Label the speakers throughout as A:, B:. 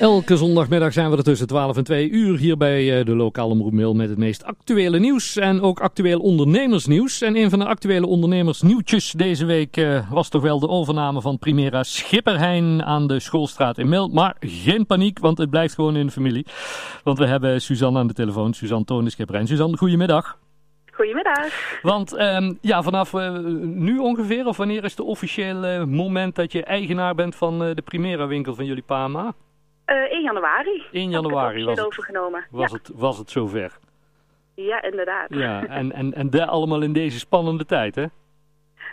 A: Elke zondagmiddag zijn we er tussen 12 en 2 uur hier bij eh, de lokale omroepmail met het meest actuele nieuws en ook actueel ondernemersnieuws. En een van de actuele ondernemersnieuwtjes deze week eh, was toch wel de overname van Primera Schipperheijn aan de Schoolstraat in Mil. Maar geen paniek, want het blijft gewoon in de familie. Want we hebben Suzanne aan de telefoon, Suzanne Tonen Schipperheijn. Suzanne, goedemiddag.
B: Goedemiddag.
A: Want ehm, ja, vanaf eh, nu ongeveer, of wanneer is het officiële moment dat je eigenaar bent van eh, de Primera winkel van jullie Pama?
B: Eh 1 januari.
A: 1 januari was
B: was
A: het.
B: overgenomen.
A: was,
B: ja.
A: het, was het zover.
B: ja, inderdaad.
A: Ja, en, en, en dat allemaal in deze spannende tijd, hè?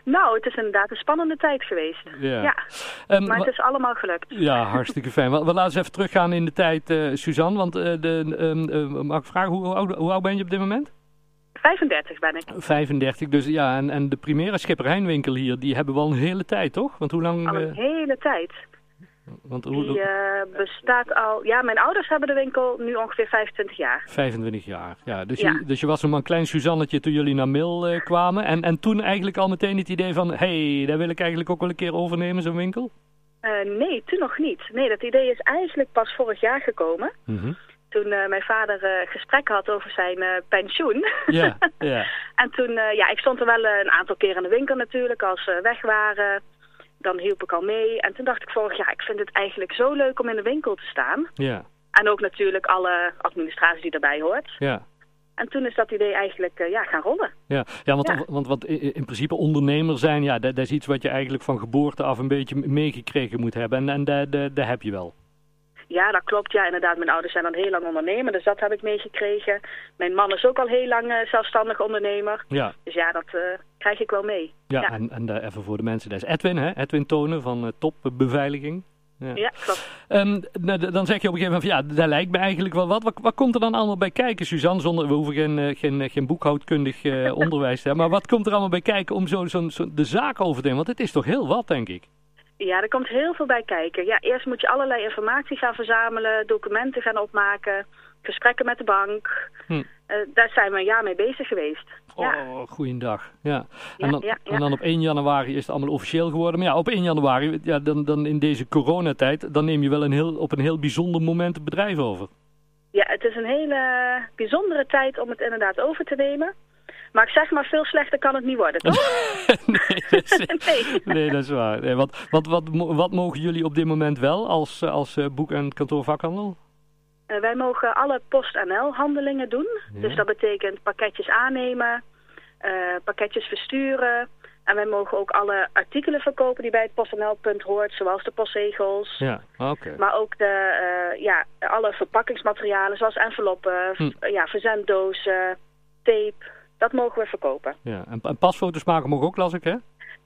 B: Nou, het is inderdaad een spannende tijd geweest.
A: Ja.
B: Ja,
A: Ehm,
B: maar
A: wa-
B: het is allemaal gelukt.
A: ja, hartstikke fijn. We, we laten eens even teruggaan in de tijd, eh, Suzanne. Want eh, de, ehm, eh, mag ik vragen, hoe oud, hoe oud ben je op dit moment?
B: 35 ben ik.
A: 35, dus ja. En, en de Primera Schipper Heinwinkel hier, die hebben we al een hele tijd, toch? Want hoe lang...
B: Al een
A: eh,
B: hele tijd.
A: want hoe,
B: Die eh, bestaat al... Ja, mijn ouders hebben de winkel nu ongeveer 25 jaar.
A: 25 jaar, ja. Dus,
B: Ja.
A: Je, dus je was nog maar een klein Suzannetje toen jullie naar Mil eh, kwamen. En, en toen eigenlijk al meteen het idee van... Hé, hey, daar wil ik eigenlijk ook wel een keer overnemen, zo'n winkel.
B: Eh, nee, toen nog niet. Nee, dat idee is eigenlijk pas vorig jaar gekomen.
A: Mhm.
B: Toen eh, mijn vader eh, gesprek had over zijn eh, pensioen.
A: Ja, ja.
B: En toen, eh, ja, ik stond er wel eh, een aantal keer in de winkel natuurlijk, als ze weg waren. Dan hielp ik al mee. En toen dacht ik vorig jaar, ik vind het eigenlijk zo leuk om in de winkel te staan.
A: Ja,
B: En ook natuurlijk alle administratie die daarbij hoort.
A: ja.
B: En toen is dat idee eigenlijk eh, ja, gaan rollen.
A: Ja, ja, want,
B: Ja.
A: want wat i- in principe ondernemer zijn, ja, dat, dat is iets wat je eigenlijk van geboorte af een beetje meegekregen moet hebben. En, en dat, dat, dat heb je wel.
B: Ja, dat klopt. Ja, inderdaad. Mijn ouders zijn al heel lang ondernemer, dus dat heb ik meegekregen. Mijn man is ook al heel lang eh, zelfstandig ondernemer.
A: Ja,
B: Dus ja, dat eh, krijg ik wel mee.
A: ja,
B: Ja.
A: en, en dat even voor de mensen. Dat is Edwin, hè? Edwin Tonen van eh, Top Beveiliging. Ja.
B: Ja, klopt.
A: Ehm, nou, d- dan zeg je op een gegeven moment van, ja, daar lijkt me eigenlijk wel wat. Wat, wat komt er dan allemaal bij kijken, Suzanne? Zonder, we hoeven geen, eh, geen, eh, geen boekhoudkundig eh, onderwijs te hebben. Maar wat komt er allemaal bij kijken om zo, zo'n- zo'n- de zaak over te nemen? Want het is toch heel wat, denk ik.
B: Ja, er komt heel veel bij kijken. Ja, eerst moet je allerlei informatie gaan verzamelen, documenten gaan opmaken, gesprekken met de bank.
A: Hm.
B: Eh, daar zijn we een jaar mee bezig geweest. Ja.
A: Oh, goeiedag. Ja. En,
B: Ja,
A: dan,
B: ja, ja.
A: en dan op 1 januari is het allemaal officieel geworden. Maar ja, op 1 januari, ja, dan, dan in deze coronatijd, dan neem je wel een heel, op een heel bijzonder moment het bedrijf over.
B: ja, het is een hele bijzondere tijd om het inderdaad over te nemen. Maar ik zeg maar, veel slechter kan het niet worden, toch?
A: nee, dat is,
B: nee.
A: nee, dat is waar. Nee, wat, wat, wat, mo- wat mogen jullie op dit moment wel als, eh, als eh, boek- en kantoorvakhandel?
B: Eh, wij mogen alle PostNL-handelingen doen. Dus dat betekent pakketjes aannemen, eh, pakketjes versturen. En wij mogen ook alle artikelen verkopen die bij het PostNL-punt hoort, zoals de postzegels.
A: Ja, oké.
B: Maar ook de, eh, ja, alle verpakkingsmaterialen, zoals enveloppen, v-
A: Hm.
B: ja, verzenddozen, tape. Dat mogen we verkopen.
A: Ja. En, en pasfoto's maken mogen ook, las ik, hè?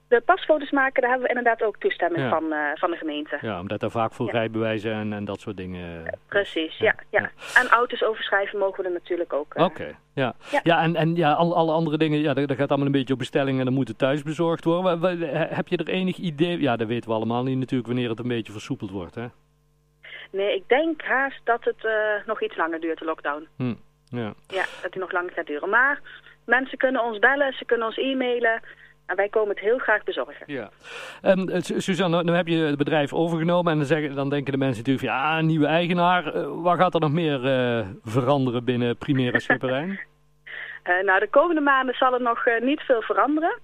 B: De pasfoto's maken, daar hebben we inderdaad ook toestemming
A: Ja.
B: van, eh, van de gemeente.
A: Ja, omdat daar vaak voor
B: Ja.
A: rijbewijzen en, en dat soort dingen... eh,
B: Precies, ja, ja,
A: ja.
B: En auto's overschrijven mogen we er natuurlijk ook. eh.
A: Oké, ja. ja.
B: ja.
A: en, en ja, alle, alle andere dingen, ja, dat, dat gaat allemaal een beetje op bestelling en dan moet het thuis bezorgd worden. Wa- wa- he- heb je er enig idee? Ja, dat weten we allemaal niet natuurlijk wanneer het een beetje versoepeld wordt, hè?
B: Nee, ik denk haast dat het eh, nog iets langer duurt, de lockdown.
A: Hm. Ja.
B: Ja, dat die nog langer gaat duren. Maar mensen kunnen ons bellen, ze kunnen ons e-mailen. En wij komen het heel graag bezorgen.
A: ja. Ehm, eh, Su- Suzanne, nou, nou heb je het bedrijf overgenomen en dan, zeggen, dan denken de mensen natuurlijk van, ja, een nieuwe eigenaar. Eh, wat gaat er nog meer eh, veranderen binnen Primera Schipperijn?
B: Eh, nou, de komende maanden zal er nog eh, niet veel veranderen.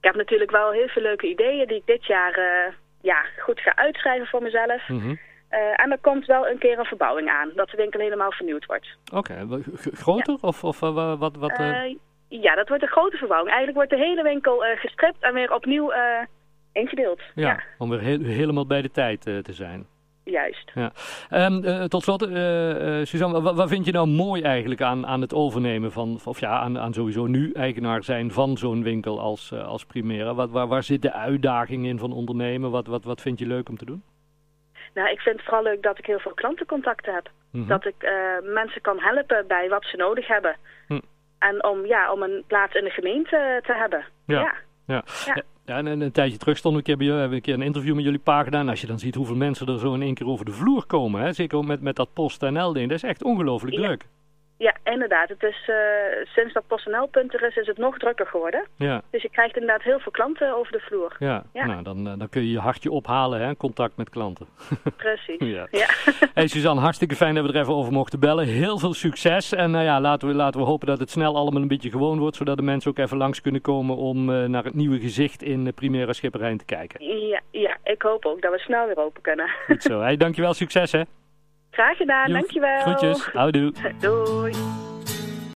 B: Ik heb natuurlijk wel heel veel leuke ideeën die ik dit jaar eh, ja, goed ga uitschrijven voor mezelf.
A: Mhm.
B: Eh, en er komt wel een keer een verbouwing aan, dat de winkel helemaal vernieuwd wordt.
A: Oké, wel g- g- groter of, of eh, wa- wat? wat eh?
B: Eh, ja, dat wordt een grote verbouwing. Eigenlijk wordt de hele winkel eh, gestript en weer opnieuw eh, ingedeeld.
A: ja, om weer he- helemaal bij de tijd eh, te zijn.
B: juist.
A: Ja. Ehm, eh, tot slot, eh, eh, Suzanne, wa- wat vind je nou mooi eigenlijk aan, aan het overnemen van, of ja, aan, aan sowieso nu eigenaar zijn van zo'n winkel als, eh, als Primera? Wat, waar, waar zit de uitdaging in van ondernemen? Wat, wat, wat vind je leuk om te doen?
B: Nou, ik vind het vooral leuk dat ik heel veel klantencontacten heb.
A: Mhm.
B: Dat ik eh, mensen kan helpen bij wat ze nodig hebben.
A: Hm.
B: En om, ja, om een plaats in de gemeente te hebben.
A: Ja.
B: ja.
A: Ja.
B: Ja.
A: Ja, en en een tijdje terug stond ik, hebben, jullie- hebben een keer een interview met jullie pa gedaan. Als je dan ziet hoeveel mensen er zo in één keer over de vloer komen, hè? zeker ook met, met dat PostNL-ding, dat is echt ongelooflijk
B: Ja.
A: leuk.
B: Ja, inderdaad. Het is, eh, sinds dat PostNL-punt er is, is het nog drukker geworden.
A: Ja,
B: Dus je krijgt inderdaad heel veel klanten over de vloer.
A: ja.
B: Ja.
A: nou dan, eh, dan kun je je hartje ophalen, hè, contact met klanten.
B: Precies.
A: Ja.
B: Ja.
A: Hey Suzanne, hartstikke fijn dat we er even over mochten bellen. Heel veel succes. En nou ja, laten, we, laten we hopen dat het snel allemaal een beetje gewoon wordt. Zodat de mensen ook even langs kunnen komen om eh, naar het nieuwe gezicht in eh, Primera Schipperijn te kijken.
B: Ja, ja, ik hoop ook dat we snel weer open kunnen.
A: Goed zo. Hey, dankjewel, succes hè.
B: Graag gedaan,
A: Joep.
B: dankjewel.
A: Groetjes. Houdoe.
B: Doei.